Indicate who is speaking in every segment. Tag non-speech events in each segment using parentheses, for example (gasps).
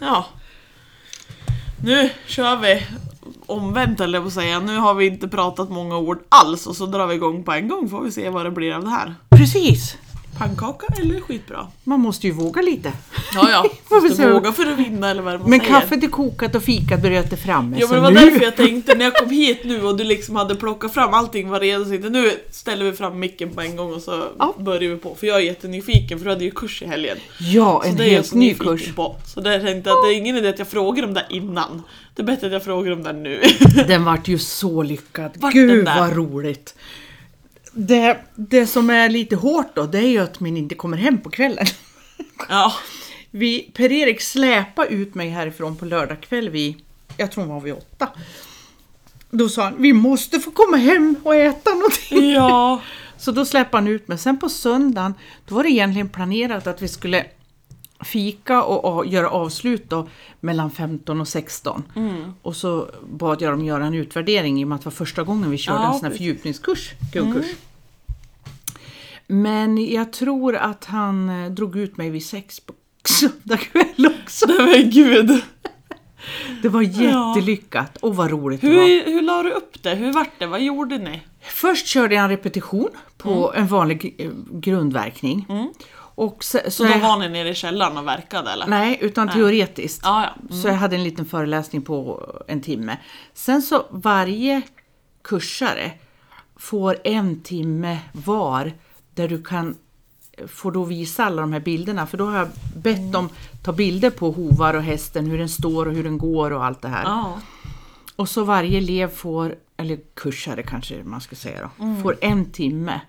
Speaker 1: Ja. Nu kör vi omvänt eller på att säga. Nu har vi inte pratat många ord alls och så drar vi igång på en gång får vi se vad det blir av det här.
Speaker 2: Precis!
Speaker 1: Pannkaka eller skitbra?
Speaker 2: Man måste ju våga lite. (laughs)
Speaker 1: Ja, (laughs) ja.
Speaker 2: Får vi
Speaker 1: Måste
Speaker 2: se.
Speaker 1: våga för att vinna eller vad man
Speaker 2: Men
Speaker 1: säger.
Speaker 2: kaffet är kokat och fikabrödet är framme.
Speaker 1: Ja men
Speaker 2: så
Speaker 1: det var
Speaker 2: nu...
Speaker 1: därför jag tänkte när jag kom hit nu och du liksom hade plockat fram allting var redo så tänkte jag, nu ställer vi fram micken på en gång och så
Speaker 2: Ja.
Speaker 1: börjar vi på. För jag är jättenyfiken för du hade ju kurs i helgen.
Speaker 2: (laughs) Ja,
Speaker 1: Så
Speaker 2: en
Speaker 1: det är jag
Speaker 2: helt
Speaker 1: så
Speaker 2: ny
Speaker 1: nyfiken
Speaker 2: kurs.
Speaker 1: på. Så där tänkte jag att det är ingen idé att jag frågar om det innan. Det är bättre att jag frågar om
Speaker 2: (laughs)
Speaker 1: det nu.
Speaker 2: (laughs) Den vart ju så lyckad.
Speaker 1: Vart den
Speaker 2: Gud
Speaker 1: där?
Speaker 2: vad roligt! Det, det som är lite hårt då, det är ju att min inte kommer hem på kvällen. (laughs)
Speaker 1: ja.
Speaker 2: Vi, Per-Erik släpade ut mig härifrån på lördag kväll vid, jag tror hon var vid åtta. Då sa han, vi måste få komma hem och äta någonting.
Speaker 1: Ja.
Speaker 2: Så då släppte han ut mig. Sen på söndagen, då var det egentligen planerat att vi skulle fika och, a- göra avslut då, mellan 15 och 16.
Speaker 1: Mm.
Speaker 2: Och så bad jag dem göra en utvärdering i och med att det var första gången vi körde
Speaker 1: Ja,
Speaker 2: en sån här
Speaker 1: precis. Mm.
Speaker 2: fördjupningskurs, grundkurs. Men jag tror att han eh, drog ut mig vid sex på (laughs) söndag kväll också.
Speaker 1: Nej men gud.
Speaker 2: Det var
Speaker 1: Ja.
Speaker 2: jättelyckat och vad roligt det var.
Speaker 1: Hur, hur la du upp det? Hur vart det? Vad gjorde ni?
Speaker 2: Först körde jag en repetition på
Speaker 1: Mm.
Speaker 2: en vanlig eh, grundverkning. Och se-
Speaker 1: Så då var ni nere i källaren och verkade eller?
Speaker 2: Nej, utan teoretiskt.
Speaker 1: Ja, ja. Mm.
Speaker 2: Så jag hade en liten föreläsning på en timme. Sen så varje kursare får en timme var där du kan får då visa alla de här bilderna för då har jag bett
Speaker 1: Mm.
Speaker 2: dem ta bilder på hovar och hästen, hur den står och hur den går och allt det här.
Speaker 1: Ja.
Speaker 2: Och så varje elev får, eller kursare kanske man ska säga då,
Speaker 1: Mm.
Speaker 2: får en timme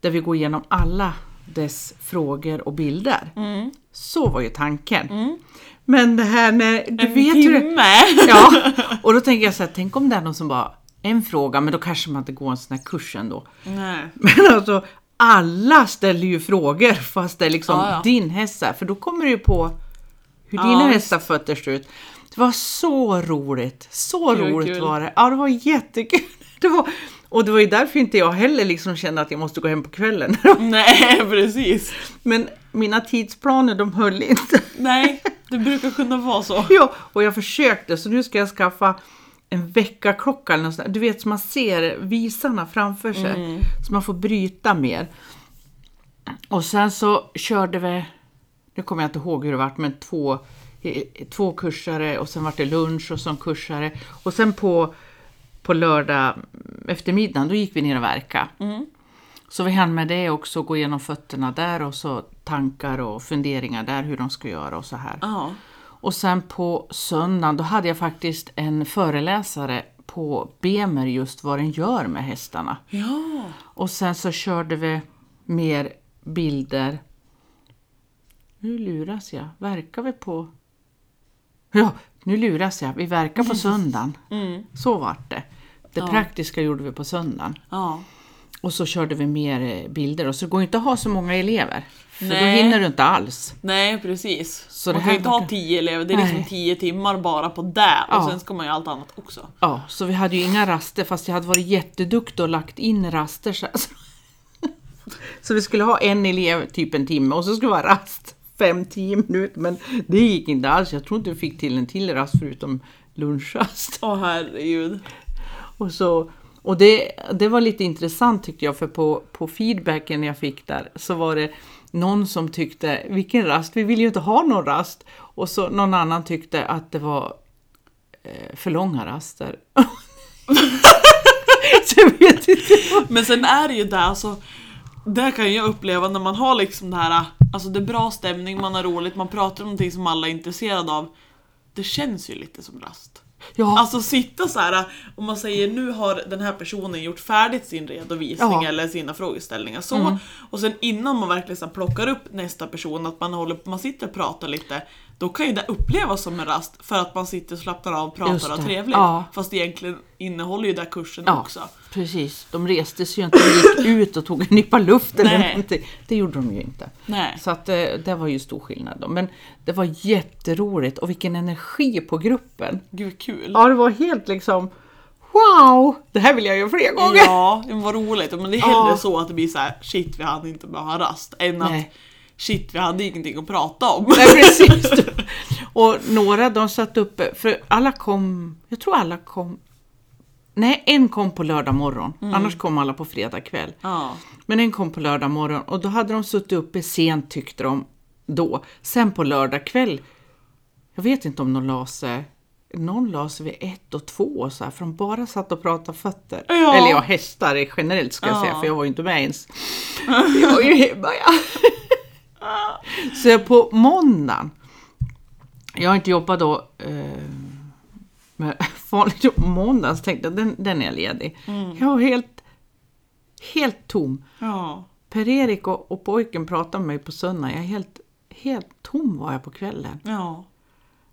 Speaker 2: där vi går igenom alla dess frågor och bilder.
Speaker 1: Mm.
Speaker 2: Så var ju tanken. Men det här när du
Speaker 1: En
Speaker 2: vet hur det,
Speaker 1: timme! (laughs)
Speaker 2: Ja, och då tänker jag så här, tänk om det är någon som bara en fråga, men då kanske man inte går en sån här kurs ändå.
Speaker 1: Nej.
Speaker 2: Men alltså, alla ställer ju frågor fast det är liksom
Speaker 1: Ja, ja.
Speaker 2: din häst är, för då kommer du ju på hur
Speaker 1: Ja,
Speaker 2: dina
Speaker 1: visst.
Speaker 2: hästar fötter ser ut. Det var så roligt, så
Speaker 1: Kul,
Speaker 2: roligt
Speaker 1: kul.
Speaker 2: var det. Ja, det var jättekul. (laughs) Det var, och det var ju därför inte jag heller liksom kände att jag måste gå hem på kvällen. (laughs)
Speaker 1: Nej (laughs) precis.
Speaker 2: Men mina tidsplaner de höll inte.
Speaker 1: Nej, det brukar kunna vara så.
Speaker 2: (laughs) Ja, och jag försökte så nu ska jag skaffa en väckarklocka eller något sånt där. Du vet så man ser visarna framför sig. Så man får bryta mer. Och sen så körde vi, nu kommer jag inte ihåg hur det vart, men två, eh, två kursare och sen vart det lunch och så en kursare. Och sen på, på lördag eftermiddagen, då gick vi ner och verka. Så vi hann med det också, gå igenom fötterna där och så tankar och funderingar där hur de ska göra och så här.
Speaker 1: Ja.
Speaker 2: Och sen på söndagen, då hade jag faktiskt en föreläsare på Bemer just vad den gör med hästarna.
Speaker 1: Ja.
Speaker 2: Och sen så körde vi mer bilder. Nu luras jag. Verkar vi på... Ja, nu luras jag. Vi verkar
Speaker 1: (laughs)
Speaker 2: på söndagen.
Speaker 1: Mm.
Speaker 2: Så vart det. Det praktiska gjorde vi på söndagen.
Speaker 1: Ja.
Speaker 2: Och så körde vi mer eh, bilder. Och så går inte att ha så många elever. För
Speaker 1: Nej.
Speaker 2: då hinner du inte alls.
Speaker 1: Nej precis.
Speaker 2: Så
Speaker 1: man
Speaker 2: det
Speaker 1: kan ju
Speaker 2: här
Speaker 1: inte ha
Speaker 2: vart-
Speaker 1: tio elever, det är liksom
Speaker 2: Nej.
Speaker 1: tio timmar bara på det och
Speaker 2: Ja.
Speaker 1: sen ska man ju allt annat också.
Speaker 2: Ja, så vi hade ju inga raster fast jag hade varit jätteduktig och lagt in raster. Så, så, (laughs) så vi skulle ha en elev typ en timme och så skulle det vara rast 5-10 minuter. Men det gick inte alls. Jag tror inte vi fick till en till rast förutom lunchrast.
Speaker 1: Åh herregud.
Speaker 2: Och, så, och det, det var lite intressant tyckte jag för på, på feedbacken jag fick där så var det någon som tyckte vilken rast, vi vill ju inte ha någon rast. Och så någon annan tyckte att det var eh, för långa raster. (laughs) så jag vet inte.
Speaker 1: Men sen är det ju det, alltså, det kan jag uppleva när man har liksom det här, alltså det är bra stämning, man har roligt, man pratar om någonting som alla är intresserade av. Det känns ju lite som rast.
Speaker 2: Ja,
Speaker 1: Alltså sitta så här om man säger nu har den här personen gjort färdigt sin redovisning
Speaker 2: Ja. Mm.
Speaker 1: eller sina frågeställningar så och sen innan man verkligen så här plockar upp nästa person att man håller man sitter och pratar lite då kan ju det upplevas som en rast för att man sitter och slappnar av,
Speaker 2: Just
Speaker 1: pratar och
Speaker 2: det.
Speaker 1: har trevligt.
Speaker 2: Ja.
Speaker 1: Fast egentligen innehåller ju det kursen
Speaker 2: Ja.
Speaker 1: också.
Speaker 2: precis. De reste sig ju inte, de gick ut och tog en nypa luft eller
Speaker 1: Nej.
Speaker 2: någonting. Det gjorde de ju inte.
Speaker 1: Nej.
Speaker 2: Så att eh, det var ju stor skillnad då. Men det var jätteroligt och vilken energi på gruppen.
Speaker 1: Gud vad kul.
Speaker 2: Ja, det var helt liksom Wow! Det här vill jag göra fler gånger! (laughs)
Speaker 1: Ja, men vad roligt. Men det är hellre
Speaker 2: Ja.
Speaker 1: så att det blir så här: shit vi hade inte behövt ha rast än
Speaker 2: Nej.
Speaker 1: att shit vi hade ingenting att prata om.
Speaker 2: Nej, precis. Och några de satt uppe, för alla kom, jag tror alla kom, nej en kom på lördag morgon, annars kom alla på fredag kväll.
Speaker 1: (laughs) Mm. Ja.
Speaker 2: Men en kom på lördag morgon och då hade de suttit uppe sent tyckte de då. Sen på lördag kväll, jag vet inte om de la sig, någon la sig vid ett och två och så här, för de bara satt och pratade fötter.
Speaker 1: Ja.
Speaker 2: Eller ja, hästar generellt ska jag
Speaker 1: Ja.
Speaker 2: säga, för jag var ju inte med
Speaker 1: (laughs)
Speaker 2: ens. Jag var ju hemma ja. Så på måndagen, jag har inte jobbat då, eh, men (laughs) vanligt jobb på måndagen så tänkte jag den, den är jag ledig.
Speaker 1: Mm.
Speaker 2: Jag var helt, helt tom.
Speaker 1: Ja.
Speaker 2: Per-Erik och, och pojken pratade med mig på söndag. Jag är helt, helt tom var jag på kvällen.
Speaker 1: Ja.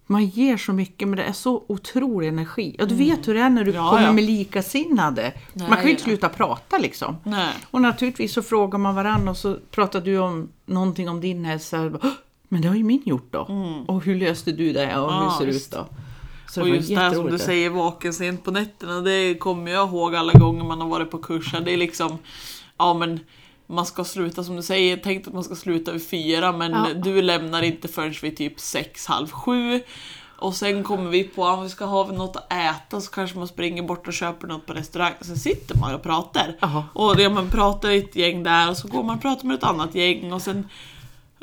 Speaker 2: Man ger så mycket men det är så otrolig energi. Ja, du vet hur det är när du
Speaker 1: Mm. Ja,
Speaker 2: kommer
Speaker 1: ja.
Speaker 2: med likasinnade.
Speaker 1: Nej,
Speaker 2: man kan ju inte
Speaker 1: ja.
Speaker 2: sluta prata liksom.
Speaker 1: Nej.
Speaker 2: Och naturligtvis så frågar man varandra och så pratar du om någonting om din hälsa. Och bara, "Åh, Men det har ju min gjort då. Och hur löste du det? Och hur
Speaker 1: Mm. Ja,
Speaker 2: ser det ut
Speaker 1: visst.
Speaker 2: då? Så
Speaker 1: Och
Speaker 2: var
Speaker 1: just det här som du
Speaker 2: jätteroligt.
Speaker 1: säger, vaken sent på nätterna, det kommer jag ihåg alla gånger man har varit på kurser. Det är liksom, ja men man ska sluta som du säger, tänk att man ska sluta vid fyra men
Speaker 2: Ja.
Speaker 1: du lämnar inte förrän vid typ sex, halv sju. Och sen kommer vi på att vi ska ha något att äta så kanske man springer bort och köper något på restaurang. Sen sitter man och pratar.
Speaker 2: Jaha.
Speaker 1: Och det, man pratar i ett gäng där och så går man och pratar med ett annat gäng och sen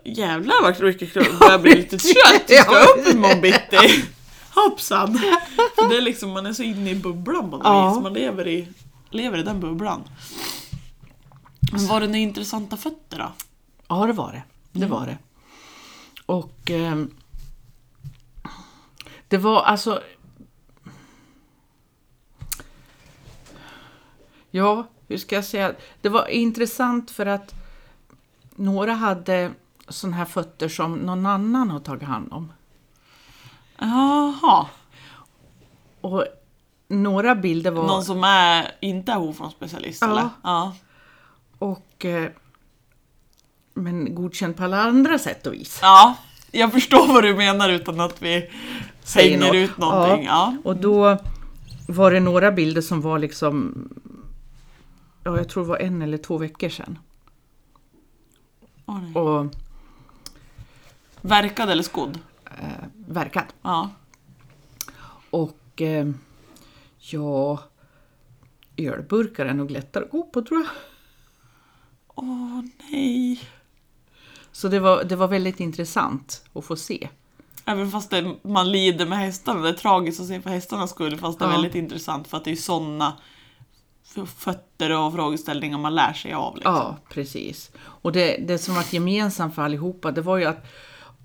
Speaker 1: Jävlar vad mycket kul, börjar bli
Speaker 2: (laughs)
Speaker 1: lite trött, jag ska upp imorgon bitti. (laughs) Hoppsan! För det är liksom, man är så inne i bubblan på något
Speaker 2: Ja.
Speaker 1: vis, man lever i, lever i den bubblan. Men var det några intressanta fötter då?
Speaker 2: Ja, det var det. Det
Speaker 1: Mm.
Speaker 2: var det. Och ehm, det var alltså... Ja, hur ska jag säga? Det var intressant för att några hade sådana här fötter som någon annan har tagit hand om.
Speaker 1: Jaha,
Speaker 2: Och några bilder var...
Speaker 1: någon som är, inte är hårfrånspecialist
Speaker 2: Ja.
Speaker 1: eller? Ja.
Speaker 2: Och, eh, men godkänd på alla andra sätt och vis.
Speaker 1: ja, jag förstår vad du menar utan att vi
Speaker 2: Säger
Speaker 1: hänger
Speaker 2: något.
Speaker 1: ut någonting. Ja.
Speaker 2: Och då var det några bilder som var liksom, ja jag tror det var en eller två veckor sedan.
Speaker 1: Åh, nej.
Speaker 2: Och
Speaker 1: Verkad eller skodd?
Speaker 2: eh, verkat.
Speaker 1: Ja.
Speaker 2: Och eh, ja, ölburkar är nog lättare att gå på tror jag.
Speaker 1: Åh nej.
Speaker 2: Så det var, det var väldigt intressant att få se.
Speaker 1: Även fast det, man lider med hästarna, det är tragiskt att se för hästarnas skull fast det är
Speaker 2: Ja.
Speaker 1: väldigt intressant för att det är sådana fötter och frågeställningar man lär sig av. Liksom.
Speaker 2: Ja, precis. Och det, det som var gemensamt för allihopa, det var ju att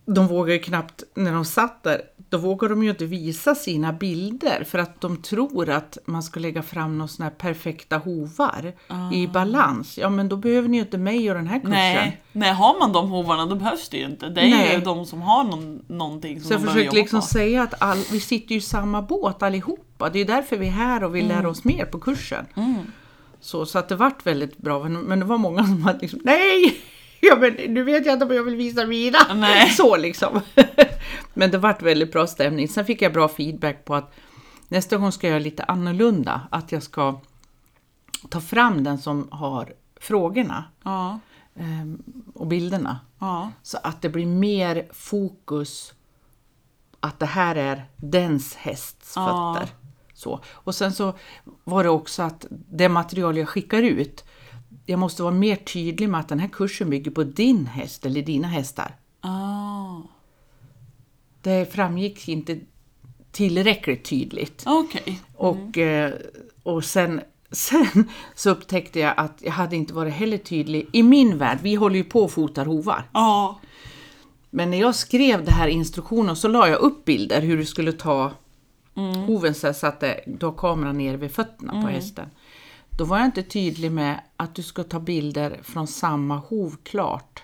Speaker 2: de vågade ju knappt, när de satt där, då vågade de ju inte visa sina bilder för att de tror att man ska lägga fram några sådana här perfekta hovar i balans. Ja, men då behöver ni ju inte mig och den här kursen.
Speaker 1: Ah. Nej, nej, har man de hovarna då behövs det ju inte. Det är
Speaker 2: Nej.
Speaker 1: ju de som har någon, någonting som
Speaker 2: Så jag
Speaker 1: de behöver
Speaker 2: försöker
Speaker 1: jobba
Speaker 2: liksom
Speaker 1: på.
Speaker 2: säga att all, vi sitter ju i samma båt allihopa. Det är ju därför vi är här och vi
Speaker 1: Mm.
Speaker 2: lär oss mer på kursen. Så, så att det vart väldigt bra, men- men det var många som hade liksom, nej! (laughs) Ja, men nu vet jag inte om jag vill visa mina.
Speaker 1: Nej.
Speaker 2: (laughs) Så liksom. men det vart väldigt bra stämning. Sen fick jag bra feedback på att nästa gång ska jag göra lite annorlunda. Att jag ska ta fram den som har frågorna
Speaker 1: Ja,
Speaker 2: ehm, och bilderna.
Speaker 1: ja.
Speaker 2: Så att det blir mer fokus att det här är dens hästs
Speaker 1: Ja.
Speaker 2: fötter. Så. Och sen så var det också att det material jag skickar ut, jag måste vara mer tydlig med att den här kursen bygger på din häst eller dina hästar.
Speaker 1: Ah.
Speaker 2: Det framgick inte tillräckligt tydligt.
Speaker 1: Okej.
Speaker 2: Och,
Speaker 1: Mm.
Speaker 2: eh, och sen, (laughs) sen så upptäckte jag att jag hade inte varit heller tydlig i min värld. Vi håller ju på och fotar hovar.
Speaker 1: Ja.
Speaker 2: Men när jag skrev det här i instruktionen så la jag upp bilder hur du skulle ta
Speaker 1: Mm.
Speaker 2: hoven så här så att det- du har kameran ner vid fötterna på hästen. Då var jag inte tydlig med att du ska ta bilder från samma hov klart.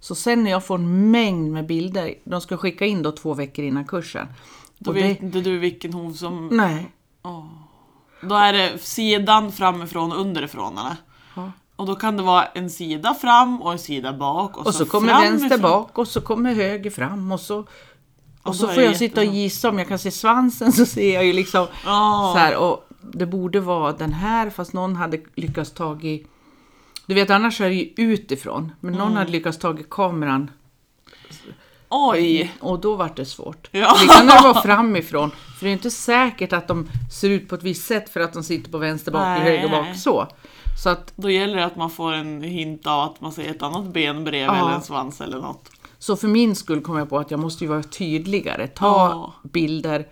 Speaker 2: Så sen när jag får en mängd med bilder, de ska skicka in då två veckor innan kursen.
Speaker 1: Då
Speaker 2: Och
Speaker 1: vet
Speaker 2: det,
Speaker 1: inte du vilken hov som...
Speaker 2: nej,
Speaker 1: Då är det sidan framifrån och underifrån eller?
Speaker 2: Ja.
Speaker 1: Och då kan det vara en sida fram och en sida bak. Och,
Speaker 2: Och så kommer
Speaker 1: framifrån.
Speaker 2: vänster bak och så kommer höger fram och så, och så
Speaker 1: då är
Speaker 2: får
Speaker 1: det
Speaker 2: jag sitta och
Speaker 1: jättebra. Ah.
Speaker 2: gissa om jag kan se svansen så ser jag ju liksom
Speaker 1: Ja.
Speaker 2: så här och det borde vara den här fast någon hade lyckats tagit
Speaker 1: Mm.
Speaker 2: du vet annars är det ju utifrån men någon hade lyckats tagit kameran
Speaker 1: Oj!
Speaker 2: Och då vart det svårt.
Speaker 1: Ja.
Speaker 2: Det kan det vara framifrån, för det är inte säkert att de ser ut på ett visst sätt för att de sitter på vänster bak och
Speaker 1: Nej,
Speaker 2: höger bak
Speaker 1: nej.
Speaker 2: så. Så att,
Speaker 1: Då gäller det att man får en hint av att man ser ett annat ben bredvid
Speaker 2: Ja.
Speaker 1: eller en svans eller något.
Speaker 2: så för min skull kom jag på att jag måste ju vara tydligare. Ta
Speaker 1: Ja.
Speaker 2: bilder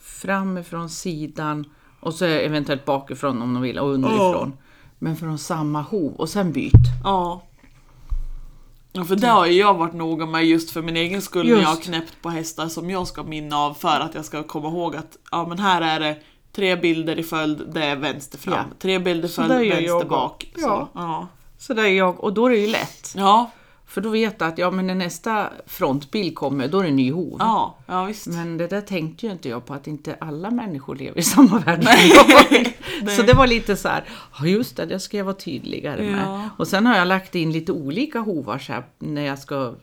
Speaker 2: framifrån, sidan och så eventuellt bakifrån om de vill och underifrån. Men från samma hov och sen byt.
Speaker 1: Ja. Ja, för det har ju jag varit noga med just för min egen skull när jag har
Speaker 2: Just.
Speaker 1: knäppt på hästar som jag ska minna av för att jag ska komma ihåg att ja, men här är det tre bilder i följd, det är vänster fram.
Speaker 2: Ja.
Speaker 1: Tre bilder i följd,
Speaker 2: där gör
Speaker 1: vänster
Speaker 2: jag
Speaker 1: bak.
Speaker 2: också.
Speaker 1: Så,
Speaker 2: Ja.
Speaker 1: ja.
Speaker 2: Så där är jag och då är det ju lätt.
Speaker 1: Ja,
Speaker 2: För då vet jag att ja, men när nästa frontbild kommer, då är det en ny hov.
Speaker 1: ja, ja visst.
Speaker 2: Men det där tänkte ju inte jag på, att inte alla människor lever i samma värld som jag.
Speaker 1: (laughs)
Speaker 2: Så det var lite så här, ja just det, det ska jag vara tydligare
Speaker 1: Ja.
Speaker 2: med. Och sen har jag lagt in lite olika hovar så här, när jag ska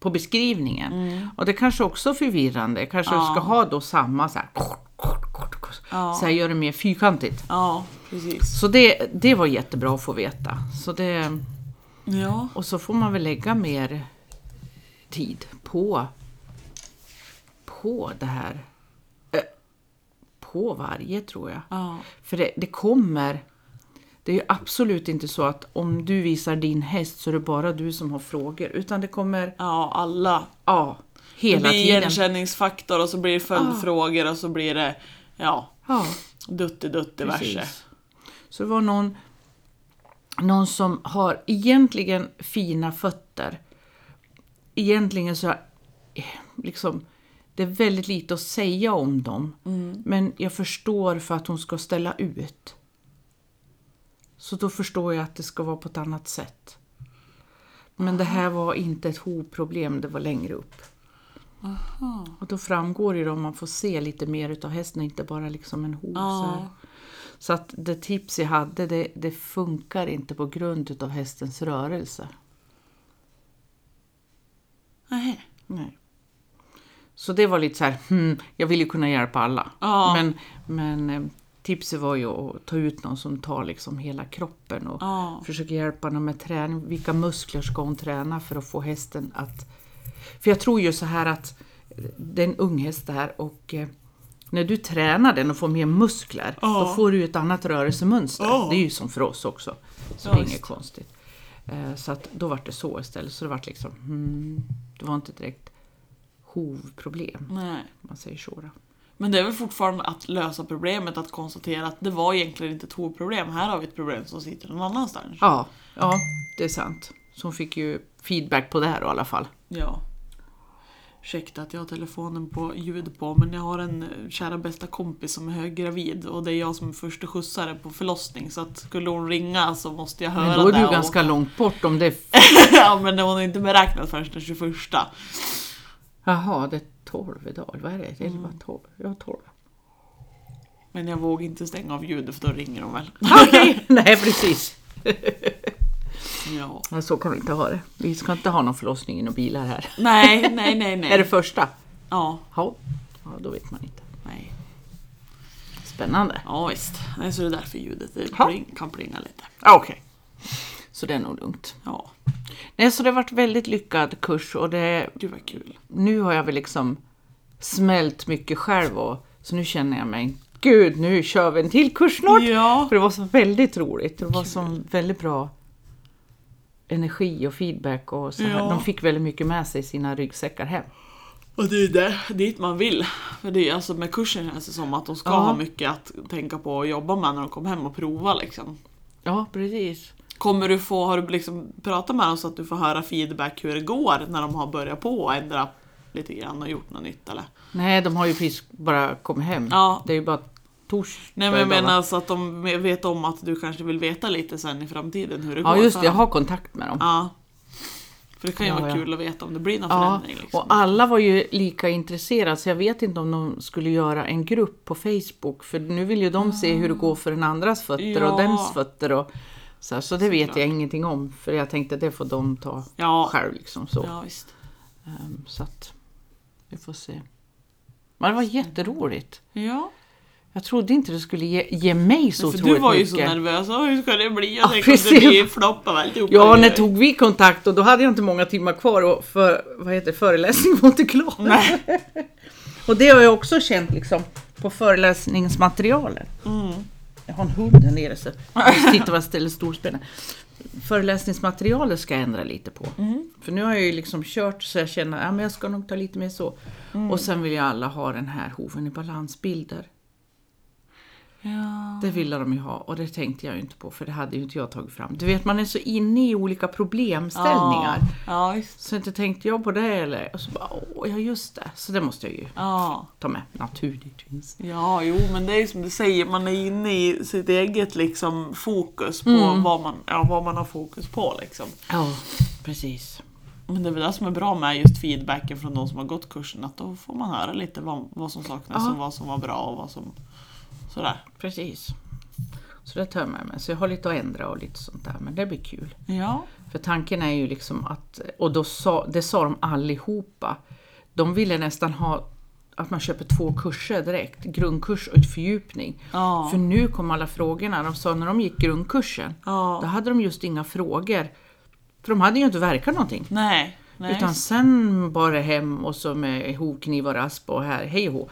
Speaker 2: på beskrivningen. Och det kanske också är förvirrande, kanske
Speaker 1: Mm. Ja.
Speaker 2: jag ska ha då samma så här, kort, kort, kort, kort.
Speaker 1: Ja.
Speaker 2: så jag gör det mer fyrkantigt.
Speaker 1: Ja, precis.
Speaker 2: Så det, det var jättebra att få veta. Så det,
Speaker 1: Ja,
Speaker 2: och så får man väl lägga mer tid på, på det här. Eh, På varje tror jag.
Speaker 1: ja,
Speaker 2: För det, det kommer. Det är ju absolut inte så att om du visar din häst så är det bara du som har frågor. Utan det kommer,
Speaker 1: ja alla.
Speaker 2: ja,
Speaker 1: Det
Speaker 2: hela
Speaker 1: blir
Speaker 2: tiden. Ah.
Speaker 1: igenkänningsfaktor och så blir det följdfrågor och så blir det ja,
Speaker 2: Ja,
Speaker 1: dutti-dutti-verse.
Speaker 2: precis. Så det var någon, någon som har egentligen fina fötter. Egentligen så, har- eh, liksom, det är väldigt lite att säga om dem. Men jag förstår för att hon ska ställa ut. Så då förstår jag att det ska vara på ett annat sätt. Men det här var inte ett hovproblem, det var längre upp. Och då framgår ju det om man får se lite mer utav hästen, inte bara liksom en hov. Så,
Speaker 1: Ja.
Speaker 2: här. så att det tips jag hade, det, det funkar inte på grund utav hästens rörelse.
Speaker 1: Nej.
Speaker 2: Nej. Så det var lite så här, hmm, jag vill ju kunna hjälpa alla.
Speaker 1: Ja.
Speaker 2: Men, men eh, tipset var ju att ta ut någon som tar liksom hela kroppen och
Speaker 1: Ja.
Speaker 2: försöker hjälpa henne med träning. Vilka muskler ska hon träna för att få hästen att... För jag tror ju så här att eh, det är en ung häst det här och eh, när du tränar den och får mer muskler,
Speaker 1: Ja.
Speaker 2: då får du ju ett annat rörelsemönster.
Speaker 1: Ja.
Speaker 2: Det är ju som för oss också, så
Speaker 1: Ja,
Speaker 2: det är inget
Speaker 1: visst.
Speaker 2: konstigt. Eh, Så att då var det så istället, så det var liksom, hmm, det var inte direkt hovproblem,
Speaker 1: Nej.
Speaker 2: om man säger så. Då.
Speaker 1: Men det är väl fortfarande att lösa problemet, att konstatera att det var egentligen inte ett hovproblem. Här har vi ett problem som sitter någon annanstans.
Speaker 2: Ja, ja, det är sant. Så hon fick ju feedback på det här då, i alla fall.
Speaker 1: Ja. Ursäkta att jag har telefonen på ljud på, men jag har en eh, kära bästa kompis som är höggravid och det är jag som är första skjutsare på förlossning så att skulle hon ringa så måste jag höra
Speaker 2: Men då är
Speaker 1: det.
Speaker 2: du
Speaker 1: och-
Speaker 2: ganska långt bort om det är
Speaker 1: (laughs) ja, men hon är inte beräknad förrän den 21.
Speaker 2: Jaha, det är 12 idag. Vad är det?
Speaker 1: Mm.
Speaker 2: 11, 12? Ja,
Speaker 1: (laughs)
Speaker 2: 12.
Speaker 1: Men jag vågar inte stänga av ljudet för då ringer hon väl.
Speaker 2: Okej, (laughs) nej precis.
Speaker 1: Ja.
Speaker 2: Men så kan vi inte ha det. Vi ska inte ha någon förlossning i några bilar här.
Speaker 1: Nej, nej, nej,
Speaker 2: (laughs)
Speaker 1: nej.
Speaker 2: Är det första?
Speaker 1: Ja,
Speaker 2: Ja. ja, då vet man inte.
Speaker 1: nej.
Speaker 2: Spännande.
Speaker 1: Ja visst. Nej, så det är därför ljudet det
Speaker 2: Ja.
Speaker 1: pling, kan plinga lite.
Speaker 2: Ja, Okej. Så det är nog lugnt.
Speaker 1: Ja,
Speaker 2: Nej, så det har varit väldigt lyckad kurs och det,
Speaker 1: gud vad kul.
Speaker 2: nu har jag väl liksom smält mycket själv och så nu känner jag mig Gud, nu kör vi en till kurs snart!
Speaker 1: Ja.
Speaker 2: För det var så väldigt roligt. Det var så väldigt bra energi och feedback och så här.
Speaker 1: Ja.
Speaker 2: De fick väldigt mycket med sig i sina ryggsäckar hem.
Speaker 1: Och det är ju där, dit man vill. För det är, alltså, med kursen känns det som att de ska
Speaker 2: Ja.
Speaker 1: ha mycket att tänka på och jobba med när de kommer hem och prova. Liksom.
Speaker 2: Ja, precis.
Speaker 1: Kommer du få, har du liksom pratat med dem så att du får höra feedback hur det går när de har börjat på och ändra lite grann och gjort något nytt eller?
Speaker 2: Nej, de har ju precis bara kommit hem.
Speaker 1: Ja.
Speaker 2: Det är ju bara torsdag.
Speaker 1: Nej men jag
Speaker 2: idag, va?
Speaker 1: menar så att de vet om att du kanske vill veta lite sen i framtiden hur det
Speaker 2: Ja,
Speaker 1: går.
Speaker 2: just
Speaker 1: för
Speaker 2: det. Jag
Speaker 1: dem.
Speaker 2: har kontakt med dem.
Speaker 1: Ja. För det kan ju
Speaker 2: Ja,
Speaker 1: vara
Speaker 2: ja.
Speaker 1: kul att veta om det blir någon
Speaker 2: Ja,
Speaker 1: förändring. Liksom.
Speaker 2: och alla var ju lika intresserade så jag vet inte om de skulle göra en grupp på Facebook för nu vill ju de se hur det går för den andras fötter
Speaker 1: Ah. Ja.
Speaker 2: och dems fötter. Och, så, här, så det vet jag ingenting om för jag tänkte det får de ta
Speaker 1: Ja.
Speaker 2: själv. Liksom, så.
Speaker 1: Ja, visst.
Speaker 2: Ehm, så att vi får se. Men det var jätteroligt.
Speaker 1: Ja.
Speaker 2: Jag Jag trodde inte det skulle ge, ge mig så
Speaker 1: För
Speaker 2: otroligt
Speaker 1: du var ju så
Speaker 2: mycket.
Speaker 1: nervös, "Åh, hur ska det bli? Jag
Speaker 2: Ja,
Speaker 1: tänkte att det
Speaker 2: precis.
Speaker 1: blir flopp av alltihopa.
Speaker 2: Ja, när tog vi kontakt och då hade jag inte många timmar kvar och för, vad heter det, föreläsningen var inte klar.
Speaker 1: Nej.
Speaker 2: (laughs) Och det har jag också känt liksom på föreläsningsmaterialet.
Speaker 1: Mm.
Speaker 2: Jag har en hund här nere så titta vad jag ställer storspelaren. Föreläsningsmaterialet ska jag ändra lite på.
Speaker 1: Mm.
Speaker 2: För nu har jag ju liksom kört så jag känner att ja, men jag ska nog ta lite mer så.
Speaker 1: Mm.
Speaker 2: Och sen vill ju alla ha den här hoven i balansbilder.
Speaker 1: Ja.
Speaker 2: Det ville de ju ha och det tänkte jag ju inte på för det hade ju inte jag tagit fram. Du vet man är så inne i olika problemställningar.
Speaker 1: Ja, just
Speaker 2: Så inte tänkte jag på det eller. Och så bara, åh, ja just det. Så det måste jag ju
Speaker 1: ja.
Speaker 2: ta med naturligtvis.
Speaker 1: Ja, jo men det är ju som du säger, man är inne i sitt eget liksom, fokus på
Speaker 2: Mm.
Speaker 1: vad, man, ja, vad man har fokus på. Liksom.
Speaker 2: Ja, precis.
Speaker 1: Men det är väl det som är bra med just feedbacken från de som har gått kursen, att då får man höra lite vad, vad som saknas
Speaker 2: Ja.
Speaker 1: och vad som var bra och vad som... Sådär.
Speaker 2: Precis. Så det tar jag med mig. Så jag har lite att ändra och lite sånt där. Men det blir kul.
Speaker 1: Ja.
Speaker 2: För tanken är ju liksom att, och då sa, det sa de allihopa. De ville nästan ha att man köper två kurser direkt. Grundkurs och ett fördjupning.
Speaker 1: Ja.
Speaker 2: För nu kom alla frågorna. De sa när de gick grundkursen,
Speaker 1: ja.
Speaker 2: då hade de just inga frågor. För de hade ju inte verkat någonting.
Speaker 1: Nej. Nej.
Speaker 2: Utan sen bara hem och så med hov, kniv och rasp och här, hej och hå.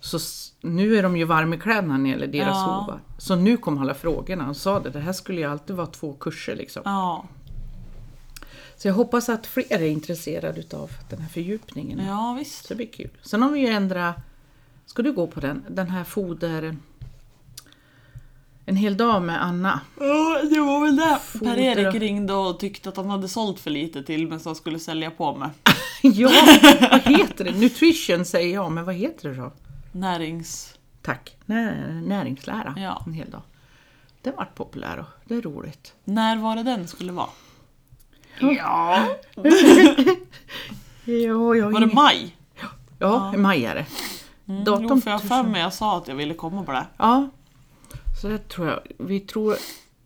Speaker 2: Så s- nu är de ju varma i kläderna när det gäller deras
Speaker 1: Ja.
Speaker 2: hovar. Så nu kom alla frågorna. Han sa det, det här skulle ju alltid vara två kurser liksom.
Speaker 1: Ja.
Speaker 2: Så jag hoppas att fler är intresserade utav den här fördjupningen.
Speaker 1: ja, visst.
Speaker 2: Så det blir kul. Sen har vi ju ändrat, ska du gå på den? Den här foder... En hel dag med Anna. (laughs)
Speaker 1: Ja, det var väl det
Speaker 2: Foder.
Speaker 1: Per-Erik ringde och tyckte att han hade sålt för lite till men så han skulle sälja på med
Speaker 2: ja, vad heter det? Nutrition säger jag, men vad heter det då?
Speaker 1: närings...
Speaker 2: Tack. Nä- Näringslära
Speaker 1: Ja.
Speaker 2: en hel dag. Den vart populär och det är roligt.
Speaker 1: När var det den skulle vara?
Speaker 2: Ja. ja, jag
Speaker 1: Var det maj?
Speaker 2: Ja, i maj är det.
Speaker 1: Mm,
Speaker 2: Datum
Speaker 1: jo, för jag har för
Speaker 2: tusen-
Speaker 1: mig jag sa att jag ville komma på det.
Speaker 2: Ja. Så det tror jag. Vi tror...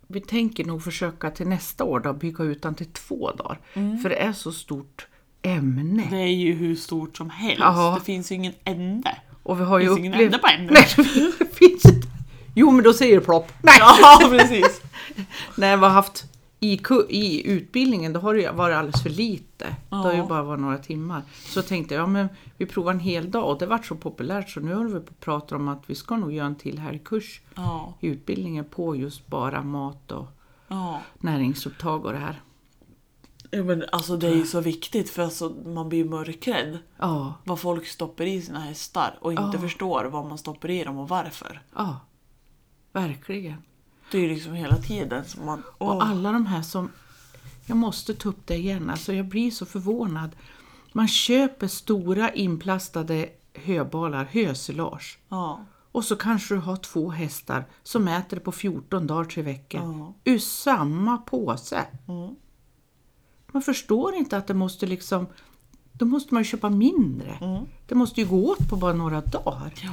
Speaker 2: Vi tänker nog försöka till nästa år då, bygga ut den till två dagar. För det är så stort ämne.
Speaker 1: Mm. Det är ju hur stort som helst.
Speaker 2: Jaha.
Speaker 1: Det finns ju ingen ände.
Speaker 2: Och vi har ju
Speaker 1: Det finns ingen ände
Speaker 2: upplevt...
Speaker 1: på ämnet.
Speaker 2: (laughs) Nej, det finns inte. Jo, men då säger det plopp. Nej.
Speaker 1: Ja, precis.
Speaker 2: när vi har haft i, ku- i utbildningen, då har det ju varit alldeles för lite. Det har ju
Speaker 1: Ja.
Speaker 2: bara varit några timmar. Så tänkte jag, ja, men vi provar en hel dag och det vart så populärt så nu håller vi på och pratar om att vi ska nog göra en till här kurs
Speaker 1: (laughs) Ja,
Speaker 2: i utbildningen på just bara mat och
Speaker 1: ja.
Speaker 2: näringsupptag och det här.
Speaker 1: ja men alltså det är ju så viktigt för alltså, man blir ju mörkrädd.
Speaker 2: Ja,
Speaker 1: Vad folk stoppar i sina hästar och inte förstår vad man stoppar i dem och varför.
Speaker 2: ja, verkligen.
Speaker 1: Det är ju liksom hela tiden som man...
Speaker 2: Och
Speaker 1: Åh,
Speaker 2: alla de här som... Jag måste ta upp det igen, alltså jag blir så förvånad. Man köper stora inplastade höbalar, hösilage.
Speaker 1: ja,
Speaker 2: Och så kanske du har två hästar som äter det på 14 dagar, tre veckor.
Speaker 1: Ja.
Speaker 2: Ur samma påse.
Speaker 1: Mm.
Speaker 2: Man förstår inte att det måste liksom... Då måste man ju köpa mindre.
Speaker 1: Mm.
Speaker 2: Det måste ju gå åt på bara några dagar.
Speaker 1: ja.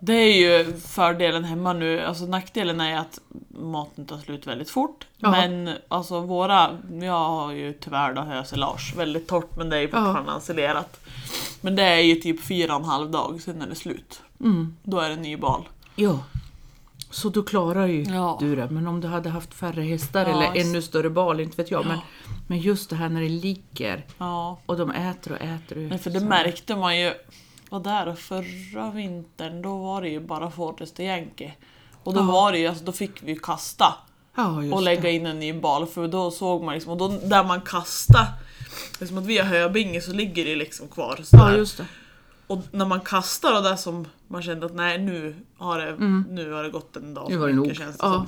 Speaker 1: Det är ju fördelen hemma nu. Alltså nackdelen är att maten tar slut väldigt fort.
Speaker 2: Ja.
Speaker 1: Men alltså våra, jag har ju tyvärr då höselage, väldigt torrt men det är ju fortfarande ensilerat. Men det är ju typ fyra och en halv dag, sen är det slut. Då är det ny bal.
Speaker 2: Ja. Så då klarar ju
Speaker 1: Ja.
Speaker 2: du det. Men om du hade haft färre hästar
Speaker 1: Ja,
Speaker 2: eller
Speaker 1: just-
Speaker 2: ännu större bal, inte vet jag. Men, men just det här när det ligger
Speaker 1: Ja.
Speaker 2: och de äter och äter.
Speaker 1: Nej, för det märkte man ju, var där och förra vintern, då var det ju bara Fortest och Yankee. Och då var det ju, alltså, då fick vi ju kasta.
Speaker 2: ja, just
Speaker 1: och
Speaker 2: det.
Speaker 1: lägga in en ny bal för då såg man liksom, och då, där man kastade, liksom att vi har höbinge så ligger det liksom kvar. sådär.
Speaker 2: Ja, just det.
Speaker 1: Och när man kastar och det som man kände att nej nu har det, nu har det gått en
Speaker 2: Mm.
Speaker 1: dag
Speaker 2: Nu
Speaker 1: för
Speaker 2: var det
Speaker 1: mycket,
Speaker 2: nog.
Speaker 1: känns det
Speaker 2: Ja.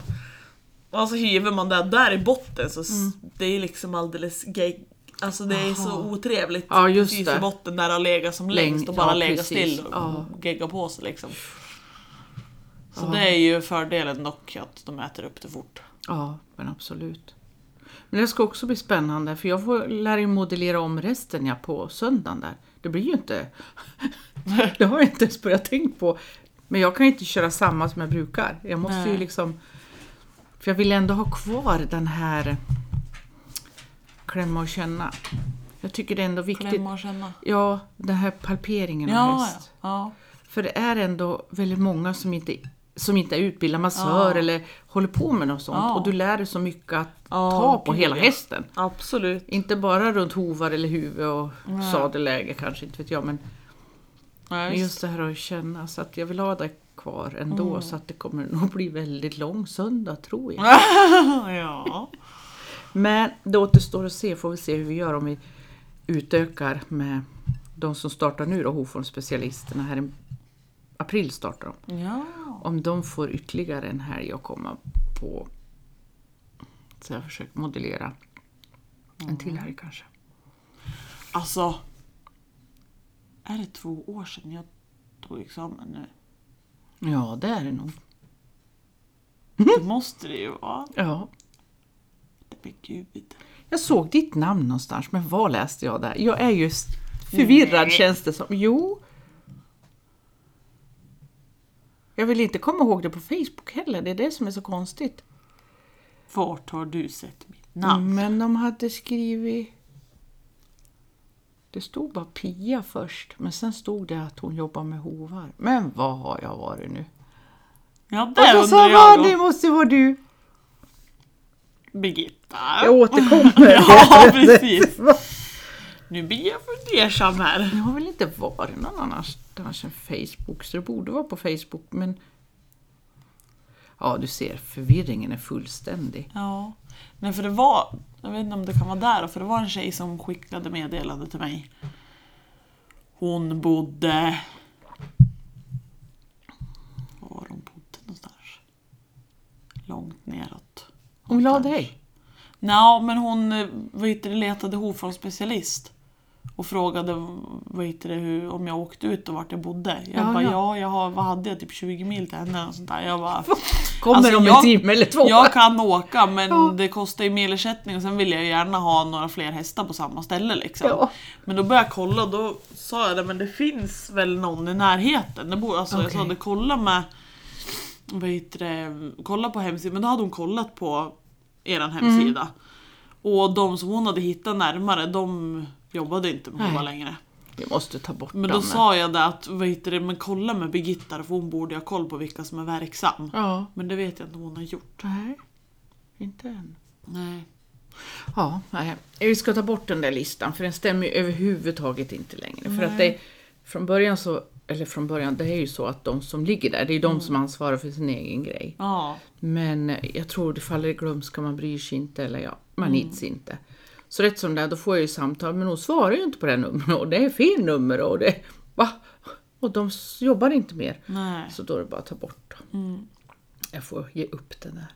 Speaker 1: som. Och så hiver man det där i botten så s-
Speaker 2: Mm.
Speaker 1: det är liksom alldeles gay. Alltså det är så otrevligt.
Speaker 2: Ja, just
Speaker 1: Precis
Speaker 2: det.
Speaker 1: i botten där det har legat som
Speaker 2: Läng-
Speaker 1: längst och bara
Speaker 2: ja,
Speaker 1: legat
Speaker 2: precis.
Speaker 1: still och
Speaker 2: Ja.
Speaker 1: geggat på sig liksom. Så det är ju fördelen dock att de äter upp det fort.
Speaker 2: Ja, men absolut. Men det ska också bli spännande för jag får, lär ju modellera om resten jag på söndagen där. Det blir ju inte... (laughs) det har jag inte ens börjat tänka på. Men jag kan ju inte köra samma som jag brukar. Jag måste ju
Speaker 1: Nej.
Speaker 2: liksom... För jag vill ändå ha kvar den här klämma och känna. Jag tycker det är ändå viktigt.
Speaker 1: Klämma och känna.
Speaker 2: Ja, den här palperingen av
Speaker 1: Ja, ja.
Speaker 2: häst.
Speaker 1: ja.
Speaker 2: För det är ändå väldigt många som inte, som inte är utbildad massör
Speaker 1: Ja.
Speaker 2: eller håller på med något sånt.
Speaker 1: Ja.
Speaker 2: Och du lär dig så mycket att
Speaker 1: Ja,
Speaker 2: ta på
Speaker 1: gud,
Speaker 2: hela
Speaker 1: ja.
Speaker 2: hästen.
Speaker 1: Absolut.
Speaker 2: Inte bara runt hovar eller huvud och sadelläge kanske, inte vet jag. Men
Speaker 1: Ja,
Speaker 2: men
Speaker 1: just. (laughs) Mm.
Speaker 2: just det här att känna, så att jag vill ha det kvar ändå. Så att det kommer nog bli väldigt lång söndag tror jag.
Speaker 1: ja.
Speaker 2: Men det återstår att se, får vi se hur vi gör om vi utökar med de som startar nu då, Hoformspecialisterna. Här i april startar de.
Speaker 1: ja.
Speaker 2: Om de får ytterligare en helg att komma på. Så jag försöker modellera. En till helg kanske.
Speaker 1: Alltså. Är det två år sedan jag tog examen (laughs) nu?
Speaker 2: Ja, det är det nog.
Speaker 1: Det måste det ju vara.
Speaker 2: Ja.
Speaker 1: Men gud.
Speaker 2: Jag såg ditt namn någonstans, men vad läste jag där? Jag är just förvirrad känns det som. Jo. Jag vill inte komma ihåg det på Facebook heller, det är det som är så konstigt.
Speaker 1: Vart har du sett mitt namn?
Speaker 2: Mm, Men de hade skrivit... Det stod bara Pia först, men sen stod det att hon jobbar med hovar. Men vad har jag varit nu?
Speaker 1: Ja, där
Speaker 2: Och så sa
Speaker 1: undrar
Speaker 2: jag,
Speaker 1: jag
Speaker 2: det
Speaker 1: då.
Speaker 2: måste vara du!
Speaker 1: Birgitta.
Speaker 2: Jag återkommer.
Speaker 1: (laughs) Ja, (laughs) precis. Nu blir jag fundersam här.
Speaker 2: (laughs) Jag har väl inte varit någon annanstans än Facebook, så det borde vara på Facebook, men... Ja, du ser, förvirringen är fullständig.
Speaker 1: Ja. Nej, för det var, jag vet inte om det kan vara där, för det var en tjej som skickade meddelande till mig. Hon bodde... Var var hon bodde någonstans? Långt neråt.
Speaker 2: Hon vill ha dig.
Speaker 1: Nå, men hon eh, vad heter det, letade hovformsspecialist. Och frågade vad heter det, hur, om jag åkte ut och vart jag bodde. Jag
Speaker 2: Ja,
Speaker 1: bara,
Speaker 2: ja.
Speaker 1: ja, jag har, vad hade jag? Typ 20 mil till henne. Och sånt där.
Speaker 2: (laughs)
Speaker 1: Jag bara,
Speaker 2: Kommer
Speaker 1: Alltså,
Speaker 2: om en
Speaker 1: jag-
Speaker 2: timme eller (laughs) två.
Speaker 1: jag kan åka men
Speaker 2: Ja.
Speaker 1: det kostar ju milersättning och sen vill jag gärna ha några fler hästar på samma ställe. Liksom.
Speaker 2: Ja.
Speaker 1: Men då började jag kolla och då sa jag det, men det finns väl någon i närheten. Det borde, alltså, Jag sa
Speaker 2: Okej.
Speaker 1: det, kolla med vad heter det, kolla på hemsidan, men då hade hon kollat på eran
Speaker 2: Mm.
Speaker 1: hemsida. Och de som hon hade hittat närmare, de jobbade inte med hovar
Speaker 2: Nej.
Speaker 1: längre.
Speaker 2: Vi måste ta bort
Speaker 1: Men då
Speaker 2: dem.
Speaker 1: sa jag det att, vad heter det, men kolla med Birgitta för hon borde ha koll på vilka som är verksam.
Speaker 2: Ja.
Speaker 1: Men det vet jag inte om hon har gjort.
Speaker 2: Nej, inte än.
Speaker 1: Nej.
Speaker 2: Ja, nej. Vi ska ta bort den där listan för den stämmer ju överhuvudtaget inte längre. För att det, från början så, eller från början, det är ju så att de som ligger där, det är ju de som ansvarar för sin egen grej.
Speaker 1: Ja.
Speaker 2: Men eh, jag tror det faller i glömska, man bryr sig inte eller ja, man ids inte. Så rätt som det är, då får jag ju samtal, men hon svarar ju inte på det numret och det är fel nummer och det, va? Och de s- jobbar inte mer.
Speaker 1: Nej.
Speaker 2: Så då är det bara att ta bort dem. Jag får ge upp den där.